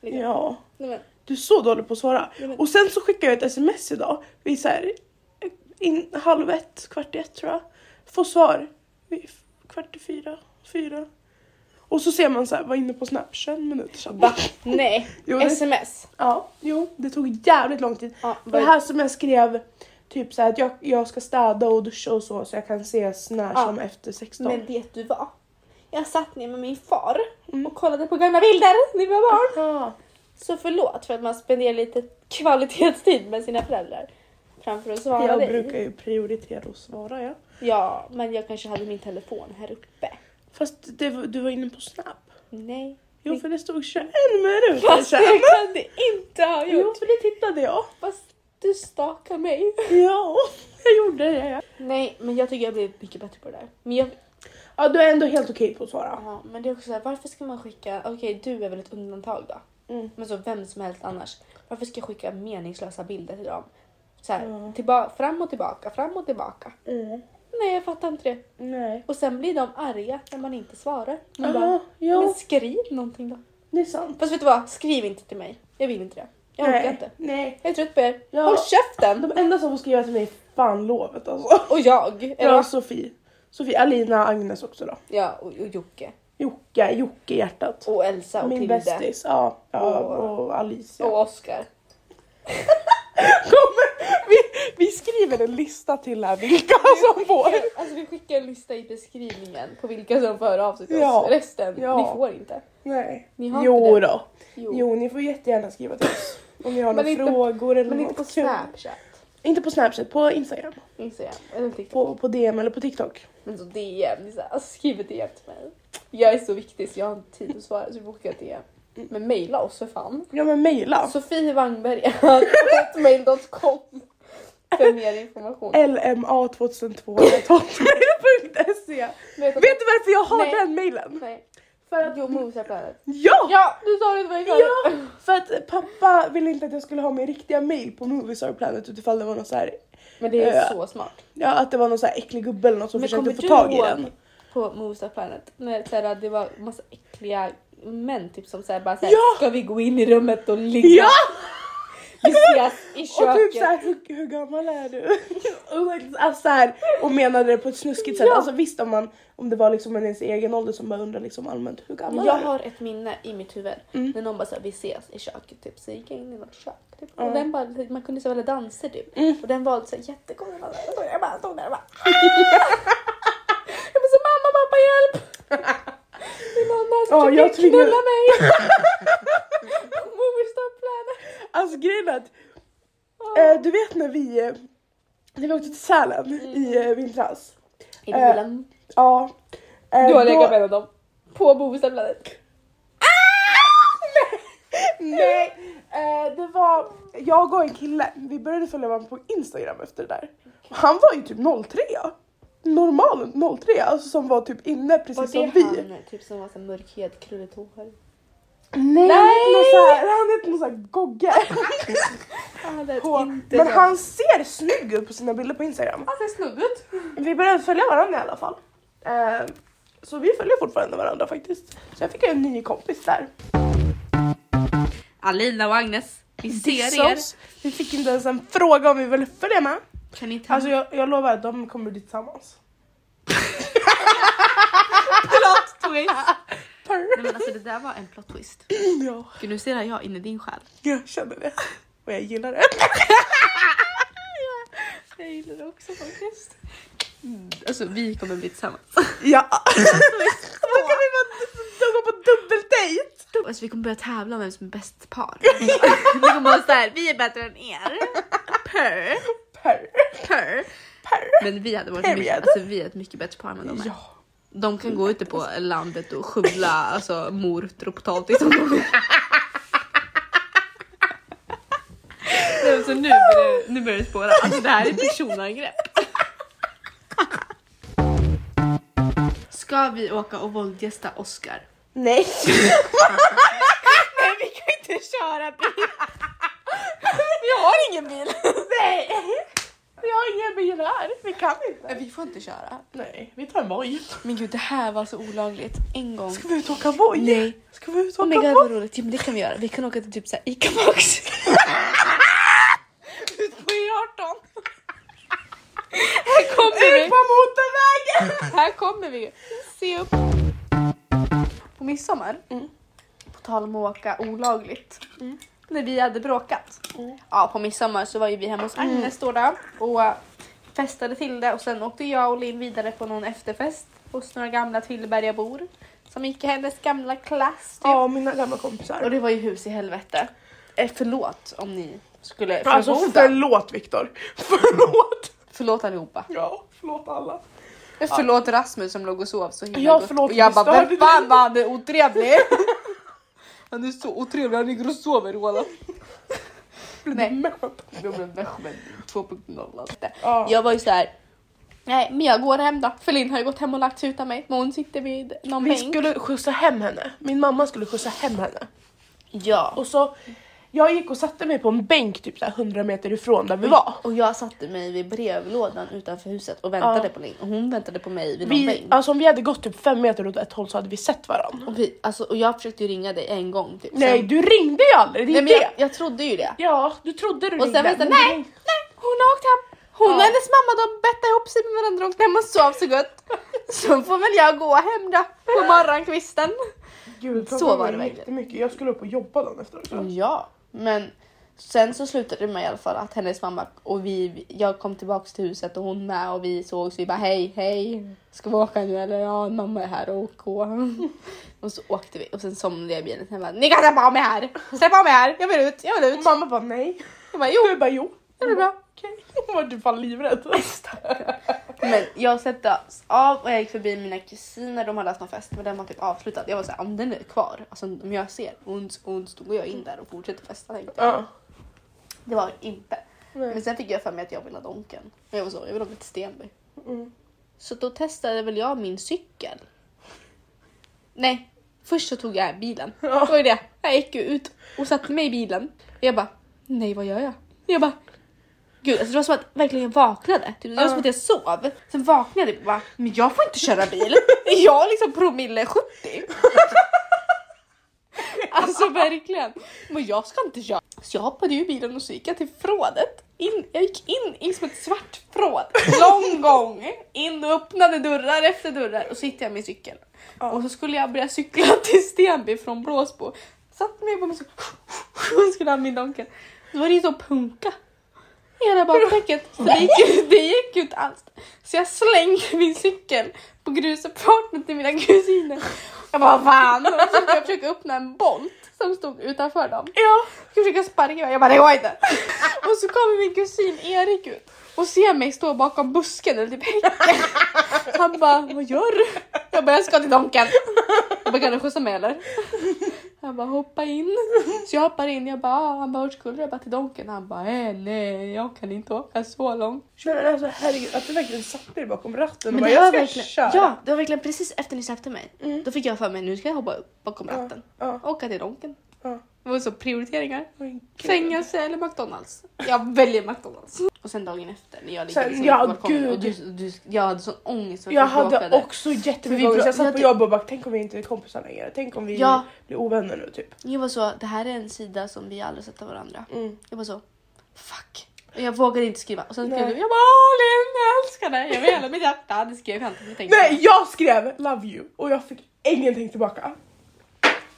Speaker 1: Liksom.
Speaker 2: ja.
Speaker 1: Nej, men,
Speaker 2: Du är så dålig på att svara.
Speaker 1: Ja, men-
Speaker 2: Och sen så skickade jag ett sms idag vid så här, in, halv ett, kvart i ett tror jag. Får svar vid f- kvart i fyra, fyra. Och så ser man så här, var inne på Snap 21 minuter sedan.
Speaker 1: va? Nej,
Speaker 2: Jo, det,
Speaker 1: sms.
Speaker 2: ja, jo, det tog jävligt lång tid.
Speaker 1: Ja,
Speaker 2: Det
Speaker 1: vad-
Speaker 2: här som jag skrev, typ så här att jag, jag ska städa och duscha och så så jag kan ses när
Speaker 1: Ja.
Speaker 2: som efter 16.
Speaker 1: Ah. men vet du vad? Jag satt ner med min far och kollade på gamla bilder när vi var barn.
Speaker 2: Ja.
Speaker 1: Mm. Så förlåt för att man spenderar lite kvalitetstid med sina föräldrar framför att svara
Speaker 2: Jag
Speaker 1: dig.
Speaker 2: brukar ju prioritera att svara ja.
Speaker 1: Ja, men jag kanske hade min telefon här uppe.
Speaker 2: Fast det, var- du var inne på Snap.
Speaker 1: Nej.
Speaker 2: Jo för det stod 21 minuter
Speaker 1: Fast
Speaker 2: sedan.
Speaker 1: det kan du inte ha
Speaker 2: Jo,
Speaker 1: gjort.
Speaker 2: för det tittade jag.
Speaker 1: Fast du stakar mig.
Speaker 2: Ja, jag gjorde det.
Speaker 1: Nej, men jag tycker jag blev mycket bättre på det där. Men, jag,
Speaker 2: Ja, du är ändå helt okej på att svara.
Speaker 1: ja, men det är också så här, varför ska man skicka... Okej, du är väl ett undantag då?
Speaker 2: Mm.
Speaker 1: Men så vem som helst annars. Varför ska jag skicka meningslösa bilder till dem? Så här,
Speaker 2: Ja.
Speaker 1: tillba- fram och tillbaka, fram och tillbaka. Nej, jag fattar inte det.
Speaker 2: Nej.
Speaker 1: Och sen blir de arga när man inte svarar. Man bara,
Speaker 2: Ja, ja,
Speaker 1: Men skriv någonting då.
Speaker 2: det är sant.
Speaker 1: Fast vet du vad? Skriv inte till mig. Jag vill inte det. Jag orkar inte.
Speaker 2: Nej.
Speaker 1: Jag är trött på er.
Speaker 2: Ja.
Speaker 1: Håll käften!
Speaker 2: De enda som får skriva till mig är fan lovet alltså.
Speaker 1: Och jag. Eller
Speaker 2: Ja,
Speaker 1: vad?
Speaker 2: Sofie. Sofie, Alina, Agnes också då.
Speaker 1: Ja, och, och Jocke.
Speaker 2: Jocke, Jocke i hjärtat.
Speaker 1: Och Elsa och
Speaker 2: Min
Speaker 1: Tilde.
Speaker 2: bästis, ja, ja
Speaker 1: Och-
Speaker 2: och Alicia.
Speaker 1: Och Oskar.
Speaker 2: Kommer, vi, Vi skriver en lista till här vilka som får.
Speaker 1: Alltså vi skickar en lista i beskrivningen på vilka som får höra av sig till
Speaker 2: Ja.
Speaker 1: oss. Resten,
Speaker 2: Ja.
Speaker 1: ni får inte.
Speaker 2: Nej.
Speaker 1: Ni har
Speaker 2: jo
Speaker 1: inte det.
Speaker 2: då.
Speaker 1: Jo.
Speaker 2: Jo, ni får jättegärna skriva till oss. Om ni har
Speaker 1: Men
Speaker 2: några
Speaker 1: inte-
Speaker 2: frågor eller
Speaker 1: Men inte
Speaker 2: något
Speaker 1: på
Speaker 2: kul.
Speaker 1: Snapchat.
Speaker 2: Inte på Snapchat, på Instagram.
Speaker 1: Instagram eller TikTok.
Speaker 2: På, på DM eller på TikTok.
Speaker 1: Men så DM, det är så här, alltså, skriv ett DM till mig. Jag är så viktig så jag har inte tid att svara så vi bokar ett DM. Men mejla oss för fan.
Speaker 2: Mm. Ja men mejla.
Speaker 1: Sofie Wangberg at mail.com för mer information.
Speaker 2: Eh, lma2002.hotmail.se
Speaker 1: Vet att-
Speaker 2: E. Vet du varför jag har
Speaker 1: Nej.
Speaker 2: den mejlen?
Speaker 1: Nej.
Speaker 2: För att...
Speaker 1: Jo, Mosa-planet.
Speaker 2: Ja!
Speaker 1: Ja, du sa det till mig förut.
Speaker 2: Ja! För att pappa ville inte att jag skulle ha min riktiga mail på Movies Are Planet utifall det var någon så här,
Speaker 1: Men det är
Speaker 2: Ja.
Speaker 1: så smart.
Speaker 2: ja, att det var någon så här äcklig gubbe eller något som
Speaker 1: Men
Speaker 2: försökte
Speaker 1: kommer
Speaker 2: få
Speaker 1: du
Speaker 2: tag i
Speaker 1: ihåg
Speaker 2: den.
Speaker 1: på Mosa Planet när så här, det var massa äckliga män typ som så här, bara såhär,
Speaker 2: Ja!
Speaker 1: ska vi gå in i rummet och ligga?
Speaker 2: Ja!
Speaker 1: Vi ses i köket.
Speaker 2: Och typ såhär, hur, hur gammal är du? och, alltså så här, och menade det på ett snuskigt sätt.
Speaker 1: Ja.
Speaker 2: Alltså visst om, man, om det var liksom en ens egen ålder som bara undrar liksom allmänt hur gammal
Speaker 1: Jag
Speaker 2: är du?
Speaker 1: har ett minne i mitt huvud
Speaker 2: Mm.
Speaker 1: när någon bara sa vi ses i köket typ så gick jag in i något kök typ. och den bara, man kunde så välja danser typ
Speaker 2: Mm.
Speaker 1: och den valde så här jättegoda danser och jag bara stod där och bara Jag bara så mamma pappa hjälp! Min mamma
Speaker 2: Ja, jag
Speaker 1: försöker
Speaker 2: tvingade-
Speaker 1: knulla mig! Mover stop planet!
Speaker 2: Alltså grejen är att
Speaker 1: Oh.
Speaker 2: Eh, du vet när vi, eh, när vi åkte till Sälen
Speaker 1: Mm.
Speaker 2: i eh, vintras?
Speaker 1: Är
Speaker 2: eh,
Speaker 1: det bilen?
Speaker 2: Ja. Eh,
Speaker 1: Du har
Speaker 2: då-
Speaker 1: legat med en av dem. På Mover planet.
Speaker 2: Ah! Nej! Eh, det var, jag och en kille, vi började följa varandra på Instagram efter det där. Och Han var ju typ 03. Normal 03, alltså som var typ inne
Speaker 1: Var
Speaker 2: precis
Speaker 1: det
Speaker 2: som vi.
Speaker 1: han typ som var så här mörkhyad krulligt hår?
Speaker 2: Nej! Han hette någon så här- han hette någon sån här Gogge.
Speaker 1: Han lät
Speaker 2: På,
Speaker 1: inte
Speaker 2: men
Speaker 1: så. Alltså,
Speaker 2: han ser snygg ut på sina bilder på Instagram.
Speaker 1: Han ser snygg ut.
Speaker 2: Vi började följa varandra i alla fall. Eh, så vi följer fortfarande varandra faktiskt. Så jag fick en ny kompis där.
Speaker 4: Alina och Agnes, vi
Speaker 2: Dissa oss. Vi fick inte ens en fråga om vi ville följa med.
Speaker 4: Kan ni ta
Speaker 2: Alltså jag, jag lovar att de kommer bli tillsammans.
Speaker 4: plot twist? Nej, men alltså, det där var en plot twist.
Speaker 2: Ja,
Speaker 4: Gud, nu ser jag in i din själ.
Speaker 2: jag känner det. Och jag gillar det.
Speaker 4: Jag gillar det också faktiskt. Alltså vi kommer bli tillsammans.
Speaker 2: Ja. Då kan vi vara, de går på dubbeldejt.
Speaker 4: Alltså, vi kommer börja tävla om vem som är bäst par. vi kommer vara såhär, vi är bättre än er. Per,
Speaker 2: Per.
Speaker 4: per.
Speaker 2: Per.
Speaker 4: Men vi hade varit
Speaker 2: Period.
Speaker 4: mycket, alltså, vi är ett mycket bättre par än vad de är.
Speaker 2: Ja.
Speaker 4: De kan gå ute på landet och skövla alltså, morötter och potatis om de vill. Nej, alltså, nu, börjar, det- nu börjar det spåra. Alltså, det här är personangrepp. Ska vi åka och våldgästa Oscar?
Speaker 2: Nej.
Speaker 4: Nej, vi kan inte köra bil.
Speaker 1: Vi har ingen bil.
Speaker 2: Nej. Vi har inga bilar. Vi kan inte.
Speaker 1: Vi får inte köra.
Speaker 2: Nej, vi tar en Voi.
Speaker 1: Men gud det här var så olagligt. En gång.
Speaker 2: Ska vi ut och åka Voi?
Speaker 1: Nej.
Speaker 2: Ska vi ut och
Speaker 1: Oh my
Speaker 2: åka
Speaker 1: god
Speaker 2: Voi?
Speaker 1: vad roligt. Ja, men det kan vi göra. Vi kan åka till typ såhär Ica Max. Ut på E18. Här kommer
Speaker 2: Ut
Speaker 1: vi.
Speaker 2: på motorvägen!
Speaker 1: Här kommer vi. Se upp. Mm. På midsommar. På tal om att åka olagligt. När vi hade bråkat. Ja, på midsommar så var ju vi hemma hos Agnes då, då och festade till det och sen åkte jag och Linn vidare på någon efterfest hos några gamla Tillbergabor som gick i hennes gamla klass. Typ.
Speaker 2: Ja, mina gamla
Speaker 1: Och
Speaker 2: kompisar.
Speaker 1: det var ju hus i helvete. Eh, förlåt om ni skulle
Speaker 2: Alltså
Speaker 1: förmoda.
Speaker 2: förlåt Viktor. Förlåt.
Speaker 1: förlåt allihopa.
Speaker 2: Ja, förlåt alla.
Speaker 1: Förlåt Rasmus som låg och sov så himla
Speaker 2: Ja,
Speaker 1: gott.
Speaker 2: förlåt,
Speaker 1: Och jag
Speaker 2: vi
Speaker 1: bara,
Speaker 2: störde
Speaker 1: vem fan var han är otrevlig? han är så otrevlig, han ligger och sover Roland. Nej. Jag blev Mehmed 2.0 alltså.
Speaker 2: Ja.
Speaker 1: Jag var ju så här. Nej men jag går hem då. För Linn har ju gått hem och lagt sig utan mig. Men hon sitter vid någon
Speaker 2: Vi
Speaker 1: bänk.
Speaker 2: skulle skjutsa hem henne. Min mamma skulle skjutsa hem henne.
Speaker 1: Ja.
Speaker 2: Och så, jag gick och satte mig på en bänk typ så här 100 meter ifrån där vi var.
Speaker 1: Och jag satte mig vid brevlådan utanför huset och väntade
Speaker 2: Ja.
Speaker 1: på Linn. Och hon väntade på mig vid någon
Speaker 2: Vi,
Speaker 1: bänk.
Speaker 2: alltså om vi hade gått typ fem meter åt ett håll så hade vi sett varandra.
Speaker 1: Och, vi, alltså, och jag försökte ju ringa dig en gång typ.
Speaker 2: Nej,
Speaker 1: Sen,
Speaker 2: du ringde ju aldrig. Det är
Speaker 1: nej men jag,
Speaker 2: det.
Speaker 1: jag trodde ju det.
Speaker 2: Ja, du trodde du
Speaker 1: Och sen var det såhär, nej, nej, hon har åkt hem. Hon och
Speaker 2: Ja.
Speaker 1: hennes mamma de bettade ihop sig med varandra och åkte hem och sov så gott. Så får väl jag gå hem då på morgonkvisten.
Speaker 2: Gud,
Speaker 1: Så var det verkligen. Mm.
Speaker 2: verkligen. Jag skulle upp och jobba dagen efter också.
Speaker 1: Ja, men Sen så slutade det med i alla fall att hennes mamma och vi, jag kom tillbaks till huset och hon med och vi såg så vi bara hej, hej, ska vi åka nu eller ja, mamma är här och gå. och så åkte vi och sen somnade jag i bilen och sen bara, ni kan släppa av mig här, släpp av mig här, jag vill ut, jag vill ut.
Speaker 2: Och mamma bara nej.
Speaker 1: Jag bara, jo,
Speaker 2: Jag bara jo.
Speaker 1: det blir bra.
Speaker 2: Okej. Hon var typ fan livrädd.
Speaker 1: Men jag släpptes av och jag gick förbi mina kusiner, de hade haft någon fest men den var typ avslutad. Jag var såhär, om den är kvar, alltså om jag ser, hon, hon stod och jag in där och fortsatte festa tänkte jag.
Speaker 2: Ja.
Speaker 1: Det var det inte.
Speaker 2: Nej.
Speaker 1: Men sen fick jag för mig att jag ville ha Donken. Men jag var så, jag vill ha mitt Stenby.
Speaker 2: Mm.
Speaker 1: Så då testade väl jag min cykel. Nej, först så tog jag bilen. Det var ju det. Jag gick ju ut och satte mig i bilen. Och jag bara, nej vad gör jag? Jag bara, gud alltså det var som att verkligen jag vaknade. Typ, Det var som att jag sov. Sen vaknade jag och bara, men jag får inte köra bil. Är jag liksom promille 70? Alltså verkligen. Men jag ska inte köra. Så jag hoppade ju i bilen och så gick jag till frådet. In, jag gick in i som ett svart fråd. Lång gång. In och öppnade dörrar efter dörrar och så hittade jag min cykel.
Speaker 2: Ja.
Speaker 1: Och så skulle jag börja cykla till Stenby från Blåsbo. Satt mig på min cykel och skulle ha min donken. Då var det ju så punka. Hela bakdäcket. Så det gick, det gick ju inte alls. Så jag slängde min cykel på grusuppfarten till mina kusiner. Jag bara fan! Och så skulle jag försöka öppna en bolt som stod utanför dem.
Speaker 2: Ja.
Speaker 1: Jag försöka sparka iväg, jag bara det går inte. Och så kommer min kusin Erik ut och ser mig stå bakom busken eller typ häcken. Han bara, vad gör du? Jag bara, jag ska till Donken. Jag bara, kan du skjutsa mig eller? Han bara, hoppa in. Så jag hoppar in, jag bara, ah. han bara, vart skulle du? Jag bara, till Donken. Han bara, eh, nej, jag kan inte åka så långt.
Speaker 2: Nej, Men alltså herregud att du verkligen satte dig bakom ratten och
Speaker 1: Men
Speaker 2: bara
Speaker 1: det var
Speaker 2: jag ska
Speaker 1: verkligen,
Speaker 2: köra. Mm.
Speaker 1: ja, det var verkligen precis efter ni släppte mig. Då fick jag för mig, nu ska jag hoppa upp bakom ratten.
Speaker 2: Ja.
Speaker 1: Åka till Donken.
Speaker 2: Ja.
Speaker 1: Det var så prioriteringar.
Speaker 2: Men gud.
Speaker 1: Fängelse eller McDonalds? Jag väljer McDonalds. Och sen dagen efter när jag ligger
Speaker 2: Sen-
Speaker 1: liksom
Speaker 2: ja,
Speaker 1: på balkongen
Speaker 2: gud.
Speaker 1: och du, du, jag hade sån ångest för att
Speaker 2: Jag
Speaker 1: jag
Speaker 2: hade
Speaker 1: bråkade.
Speaker 2: också
Speaker 1: För vi
Speaker 2: jättemycket ångest. Jag
Speaker 1: bråk-
Speaker 2: satt
Speaker 1: jag
Speaker 2: på
Speaker 1: ty-
Speaker 2: jobbet och bara tänk om vi inte är kompisar längre. Tänk om vi
Speaker 1: Ja.
Speaker 2: blir ovänner nu typ.
Speaker 1: Jag var så, det här är en sida som vi aldrig sett av varandra. Jag var så, fuck. Och jag vågade inte skriva. Och sen skrev
Speaker 2: Nej.
Speaker 1: du, jag bara "Åh, Linn, jag älskar dig. Jag vill hela mitt hjärta. Det skrev jag inte. men Jag tänkte,
Speaker 2: Nej jag skrev love you och jag fick ingenting tillbaka.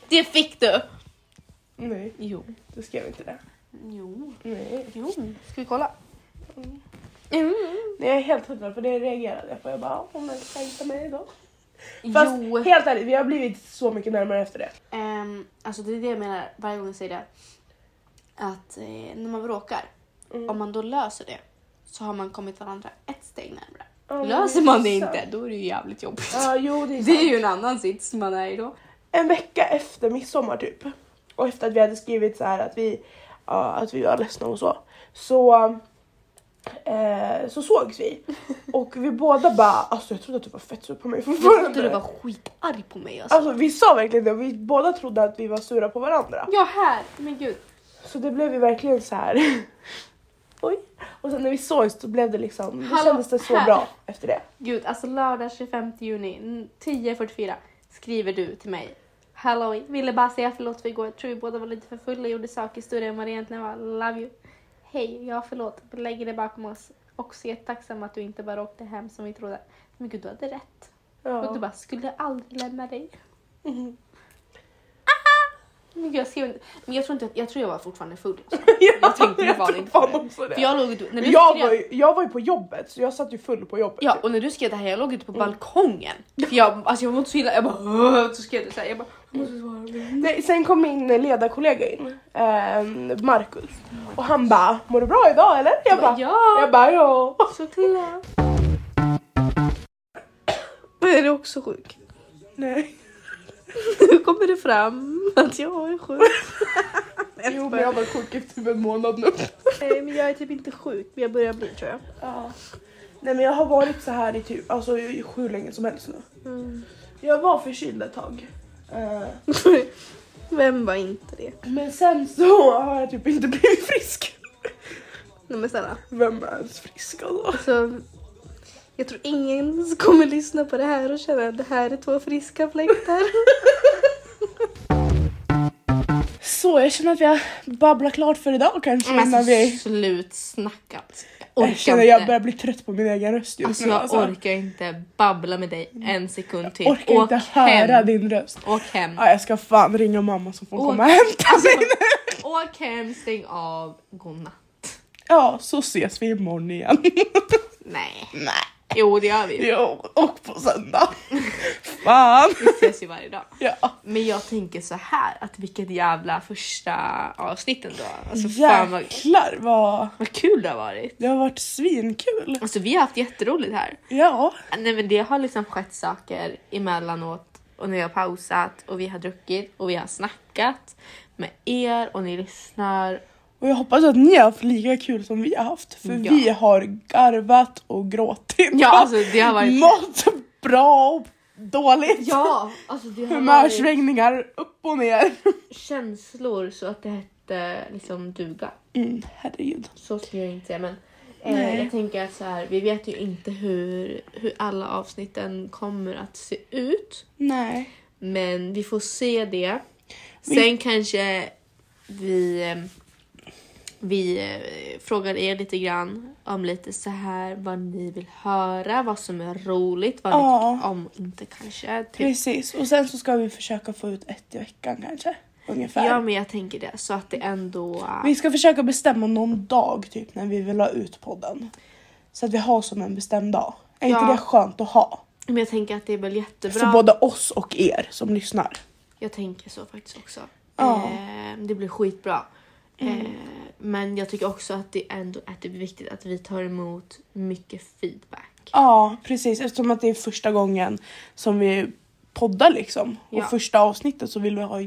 Speaker 1: Det fick du!
Speaker 2: Nej
Speaker 1: Jo.
Speaker 2: du skrev inte det.
Speaker 1: Jo.
Speaker 2: Nej.
Speaker 1: Jo. Ska vi kolla? Mm.
Speaker 2: Nej jag är helt hundra på det reagerade jag på. Jag bara hon älskar inte mig då. Fast
Speaker 1: Jo.
Speaker 2: helt ärligt vi har blivit så mycket närmare efter det.
Speaker 1: Ehm, alltså det är det jag menar varje gång jag säger det. Att eh, när man bråkar, om man då löser det så har man kommit varandra ett steg närmare.
Speaker 2: Ja, men
Speaker 1: löser
Speaker 2: det är
Speaker 1: man det
Speaker 2: sant.
Speaker 1: inte, då är det ju jävligt jobbigt.
Speaker 2: Ja jo det är,
Speaker 1: Det är
Speaker 2: sant.
Speaker 1: ju en annan sits man är i då.
Speaker 2: en vecka efter midsommar typ. Och efter att vi hade skrivit så här att vi, ja, att vi var ledsna och så. Så, eh, så sågs vi. Och vi båda bara, alltså jag trodde att du var fett sur på mig
Speaker 1: Jag trodde du
Speaker 2: fortfarande.
Speaker 1: var skitarg på mig alltså.
Speaker 2: Alltså vi sa verkligen det och vi båda trodde att vi var sura på varandra.
Speaker 1: Alltså, Ja här, men gud.
Speaker 2: Så det blev ju verkligen så här. Oj. Och sen när vi sågs så blev det liksom, då
Speaker 1: Hallå,
Speaker 2: kändes det så
Speaker 1: här.
Speaker 2: bra efter det.
Speaker 1: Gud, alltså lördag 25 juni n- 10.44 skriver du till mig. Halloj, ville bara säga förlåt för igår. Jag tror vi båda var lite för fulla och gjorde saker större än vad det egentligen var. Love you. Hej, ja förlåt. Vi lägger det bakom oss. Och så är jag tacksam att du inte bara åkte hem som vi trodde. Men gud, du hade rätt. Och
Speaker 2: Ja.
Speaker 1: du bara, skulle jag aldrig lämna dig.
Speaker 5: Mm.
Speaker 1: Men gud, jag skrev inte. Men jag tror inte, jag tror jag var fortfarande full. Alltså. Jag tänkte ju
Speaker 2: jag
Speaker 1: fan
Speaker 2: tror
Speaker 1: inte
Speaker 2: fan
Speaker 1: det.
Speaker 2: också det.
Speaker 1: För jag låg, när du
Speaker 2: Jag
Speaker 1: skrev-
Speaker 2: var, ju, jag var ju på jobbet så jag satt ju full på jobbet.
Speaker 1: Ja och när du skrev det här jag låg ute
Speaker 5: Mm.
Speaker 1: på balkongen. För jag, alltså jag var inte så illa, jag bara "Åh", så skrev du såhär. Jag bara jag måste svara.
Speaker 2: Nej, sen kom min ledarkollega in, eh, Markus. Och han bara, mår du bra idag eller? Jag bara,
Speaker 1: ja.
Speaker 2: jag bara ja.
Speaker 1: Såklart.
Speaker 5: Men är du också sjuk?
Speaker 2: Nej.
Speaker 5: Nu kommer det fram att jag är sjuk.
Speaker 2: Jo men jag har varit sjuk i typ en månad nu.
Speaker 5: Nej, men jag är typ inte sjuk, men jag börjar bli tror jag.
Speaker 2: Ja. Nej men jag har varit så här i typ, alltså i hur länge som helst nu.
Speaker 5: Mm.
Speaker 2: Jag var förkyld ett tag. Eh,
Speaker 5: Vem var inte det?
Speaker 2: men sen så har jag typ inte blivit frisk.
Speaker 5: Nej men snälla.
Speaker 2: Vem är ens frisk alltså?
Speaker 5: Alltså, jag tror ingen kommer lyssna på det här och känna att det här är två friska fläktar.
Speaker 2: Så jag känner att vi har babblat klart för idag kanske
Speaker 1: Men
Speaker 2: innan
Speaker 1: alltså
Speaker 2: vi...
Speaker 1: slutsnackat. Jag
Speaker 2: Jag
Speaker 1: orkar
Speaker 2: känner att jag
Speaker 1: inte.
Speaker 2: börjar bli trött på min egen röst just
Speaker 1: Alltså
Speaker 2: nu.
Speaker 1: jag orkar inte babbla med dig en sekund till.
Speaker 2: orkar inte
Speaker 1: Åk
Speaker 2: höra
Speaker 1: hem.
Speaker 2: din röst.
Speaker 1: Åk hem.
Speaker 2: Ja, jag ska fan ringa mamma så får hon
Speaker 1: Åk-
Speaker 2: komma och hämta
Speaker 1: Alltså,
Speaker 2: mig nu.
Speaker 1: Åk hem, stäng av, godnatt.
Speaker 2: Ja, så ses vi imorgon igen.
Speaker 1: Nej.
Speaker 2: Nej.
Speaker 1: Jo, det gör vi ju.
Speaker 2: Jo, och på söndag. Fan.
Speaker 1: Vi ses ju varje dag.
Speaker 2: Ja.
Speaker 1: Men jag tänker så här att vilket jävla första avsnitt ändå. Alltså fan vad,
Speaker 2: Jäklar vad...
Speaker 1: vad kul det har varit.
Speaker 2: Det har varit svinkul.
Speaker 1: Alltså vi har haft jätteroligt här.
Speaker 2: Ja.
Speaker 1: Nej men det har liksom skett saker emellanåt och när vi har pausat och vi har druckit och vi har snackat med er och ni lyssnar.
Speaker 2: Och jag hoppas att ni har haft lika kul som vi har haft. För
Speaker 1: Ja.
Speaker 2: vi har garvat och gråtit.
Speaker 1: Ja alltså det har varit...
Speaker 2: Mått bra och dåligt.
Speaker 1: Ja! Alltså det har varit
Speaker 2: Humörsvängningar upp och ner.
Speaker 1: känslor så att det hette liksom duga.
Speaker 2: Mm, herregud.
Speaker 1: Så skulle jag inte säga men
Speaker 2: Nej.
Speaker 1: eh, jag tänker att så här, vi vet ju inte hur, hur alla avsnitten kommer att se ut.
Speaker 2: Nej.
Speaker 1: Men vi får se det. Sen
Speaker 2: Vi-
Speaker 1: kanske vi, eh, vi eh, frågar er lite grann om lite så här vad ni vill höra, vad som är roligt, vad
Speaker 2: Ja.
Speaker 1: ni tycker om och inte kanske. Typ.
Speaker 2: Precis, och sen så ska vi försöka få ut ett i veckan kanske. Ungefär.
Speaker 1: Ja men jag tänker det så att det ändå...
Speaker 2: Vi ska försöka bestämma någon dag typ när vi vill ha ut podden. Så att vi har som en bestämd dag. Är
Speaker 1: Ja.
Speaker 2: inte det skönt att ha?
Speaker 1: Men jag tänker att det är väl jättebra.
Speaker 2: För både oss och er som lyssnar.
Speaker 1: Jag tänker så faktiskt också.
Speaker 2: Ja. Mm.
Speaker 1: Eh, det blir skitbra. Eh, men jag tycker också att det ändå att det är typ viktigt att vi tar emot mycket feedback.
Speaker 2: Ja, precis. Eftersom att det är första gången som vi poddar liksom.
Speaker 1: Ja.
Speaker 2: Och första avsnittet så vill vi ha,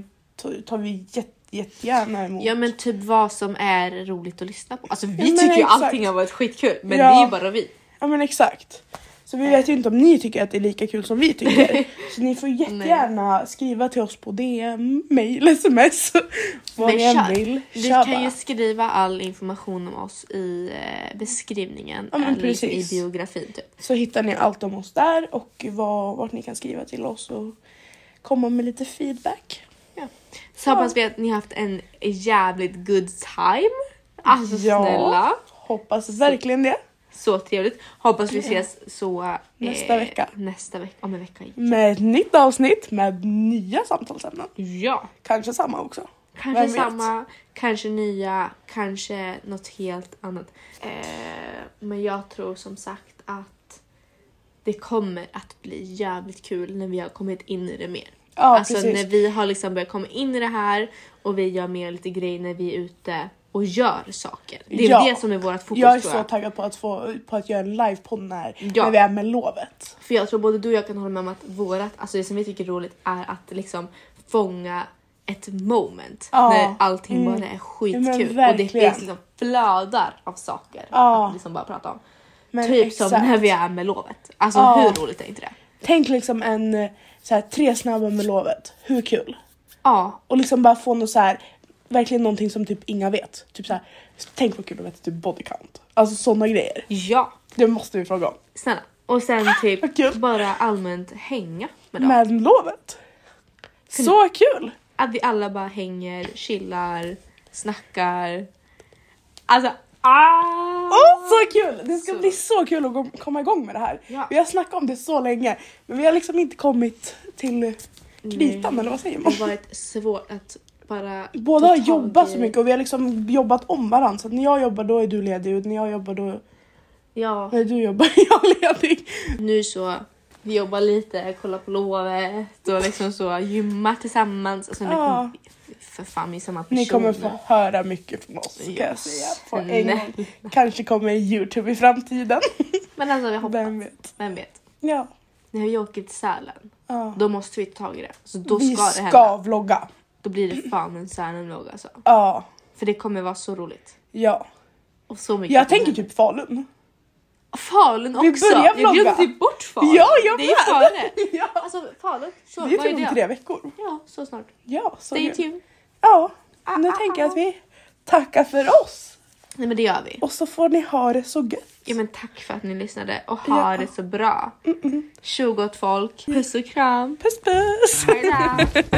Speaker 2: tar vi jätte, jättegärna emot.
Speaker 1: Ja men typ vad som är roligt att lyssna på. Alltså vi
Speaker 2: men
Speaker 1: tycker ju
Speaker 2: exakt.
Speaker 1: allting har varit skitkul men
Speaker 2: Ja.
Speaker 1: det är ju bara vi.
Speaker 2: Ja men exakt. Så vi vet ju inte om ni tycker att det är lika kul som vi tycker. Så ni får jättegärna skriva till oss på DM, mail, sms. Vad
Speaker 1: Men
Speaker 2: ni än
Speaker 1: kör.
Speaker 2: vill.
Speaker 1: Du
Speaker 2: Kör
Speaker 1: kan ju
Speaker 2: bara.
Speaker 1: skriva all information om oss i eh, beskrivningen
Speaker 2: Ja, men
Speaker 1: eller liksom i
Speaker 2: precis.
Speaker 1: biografin typ.
Speaker 2: Så hittar ni allt om oss där och vad, vart ni kan skriva till oss och komma med lite feedback.
Speaker 1: Så hoppas vi att ni har haft en jävligt good time. Alltså
Speaker 2: Ja.
Speaker 1: snälla.
Speaker 2: Hoppas verkligen det.
Speaker 1: Så trevligt. Hoppas vi ses så eh,
Speaker 2: Nästa vecka.
Speaker 1: Nästa vecka. Om en vecka.
Speaker 2: Med ett nytt avsnitt med nya samtalsämnen.
Speaker 1: Ja.
Speaker 2: Kanske samma också.
Speaker 1: Kanske
Speaker 2: Vem vet?
Speaker 1: samma, kanske nya, kanske något helt annat. Eh, men jag tror som sagt att det kommer att bli jävligt kul när vi har kommit in i det mer.
Speaker 2: Ja
Speaker 1: alltså
Speaker 2: precis.
Speaker 1: när vi har liksom börjat komma in i det här och vi gör mer lite grejer när vi är ute och gör saker. Det är
Speaker 2: Ja.
Speaker 1: det som är vårt fokus
Speaker 2: Jag är
Speaker 1: tror
Speaker 2: så
Speaker 1: jag.
Speaker 2: taggad på att, få, på att göra en livepodd när,
Speaker 1: Ja.
Speaker 2: när vi är med lovet.
Speaker 1: För jag tror både du och jag kan hålla med om att vårat, alltså det som vi tycker är roligt är att liksom fånga ett moment
Speaker 2: Ja.
Speaker 1: när allting
Speaker 2: Mm.
Speaker 1: bara är
Speaker 2: Ja,
Speaker 1: skitkul
Speaker 2: men
Speaker 1: och det
Speaker 2: verkligen.
Speaker 1: finns liksom flödar av saker
Speaker 2: Ja.
Speaker 1: att liksom bara prata om.
Speaker 2: Men
Speaker 1: typ som
Speaker 2: exakt.
Speaker 1: när vi är med lovet. Alltså
Speaker 2: Ja.
Speaker 1: hur roligt är inte det?
Speaker 2: Tänk liksom en eh, så här, tre snabba med lovet. Hur kul?
Speaker 1: Ja,
Speaker 2: Och liksom bara få något så här, verkligen någonting som typ inga vet. Typ så här, tänk vad kul att veta typ body count. Alltså sådana grejer.
Speaker 1: ja,
Speaker 2: Det måste vi fråga om.
Speaker 1: snälla. Och sen
Speaker 2: vad
Speaker 1: typ
Speaker 2: kul.
Speaker 1: bara allmänt hänga med dem.
Speaker 2: Men lovet! Så kul!
Speaker 1: Att vi alla bara hänger, chillar, snackar. Alltså ah!
Speaker 2: Åh, så kul! Det ska
Speaker 1: Så.
Speaker 2: bli så kul att gå- komma igång med det här.
Speaker 1: Ja.
Speaker 2: Vi har snackat om det så länge men vi har liksom inte kommit till kritan
Speaker 1: Nej.
Speaker 2: eller vad säger
Speaker 1: Det
Speaker 2: man?
Speaker 1: har varit svårt att bara...
Speaker 2: Båda
Speaker 1: ta
Speaker 2: har
Speaker 1: tag
Speaker 2: jobbat
Speaker 1: i-
Speaker 2: så mycket och vi har liksom jobbat om varandra så att när jag jobbar då är du ledig och när jag jobbar då
Speaker 1: Ja,
Speaker 2: Nej, du jobbar, jag är ledig.
Speaker 1: nu så vi jobbar lite, kollar på lovet och liksom så gymmar tillsammans. Alltså, ni
Speaker 2: Ja.
Speaker 1: kommer, för fan, vi är samma person.
Speaker 2: Ah. Ni kommer få höra mycket från oss. Ska jag säga. På en
Speaker 1: Snälla.
Speaker 2: gång. Kanske kommer en Youtube i framtiden.
Speaker 1: Men alltså vi hoppas.
Speaker 2: Vem
Speaker 1: Vem
Speaker 2: vet?
Speaker 1: vet?
Speaker 2: Ja.
Speaker 1: När vi åker till Sälen,
Speaker 2: ja.
Speaker 1: då måste vi ta tag i det. Så då
Speaker 2: Ah. Vi
Speaker 1: ska det
Speaker 2: ska
Speaker 1: hända.
Speaker 2: vlogga.
Speaker 1: Då blir det fan en Sälen-vlogg alltså.
Speaker 2: Ja.
Speaker 1: För det kommer vara så roligt.
Speaker 2: ja.
Speaker 1: Och så mycket
Speaker 2: Jag tänker typ Falun.
Speaker 1: Falun också!
Speaker 2: Vi börjar
Speaker 1: jag
Speaker 2: vlogga.
Speaker 1: glömde typ bort Falun.
Speaker 2: Ja, jag
Speaker 1: det är ju
Speaker 2: med.
Speaker 1: före.
Speaker 2: Ja.
Speaker 1: Alltså Falun, så,
Speaker 2: Det är
Speaker 1: vad
Speaker 2: typ om
Speaker 1: är
Speaker 2: tre
Speaker 1: det?
Speaker 2: veckor.
Speaker 1: Ja, så snart.
Speaker 2: Ja, så
Speaker 1: Stay
Speaker 2: kul.
Speaker 1: tuned.
Speaker 2: Ja,
Speaker 1: typ- Ah,
Speaker 2: nu
Speaker 1: ah,
Speaker 2: tänker jag
Speaker 1: ah.
Speaker 2: att vi tackar för oss.
Speaker 1: Nej men det gör vi.
Speaker 2: Och så får ni ha det så gött.
Speaker 1: Ja men tack för att ni lyssnade och ha
Speaker 2: Ja. Mm,
Speaker 1: det så bra. Tjo gott folk. Puss och kram.
Speaker 2: Puss puss!
Speaker 1: Hejdå.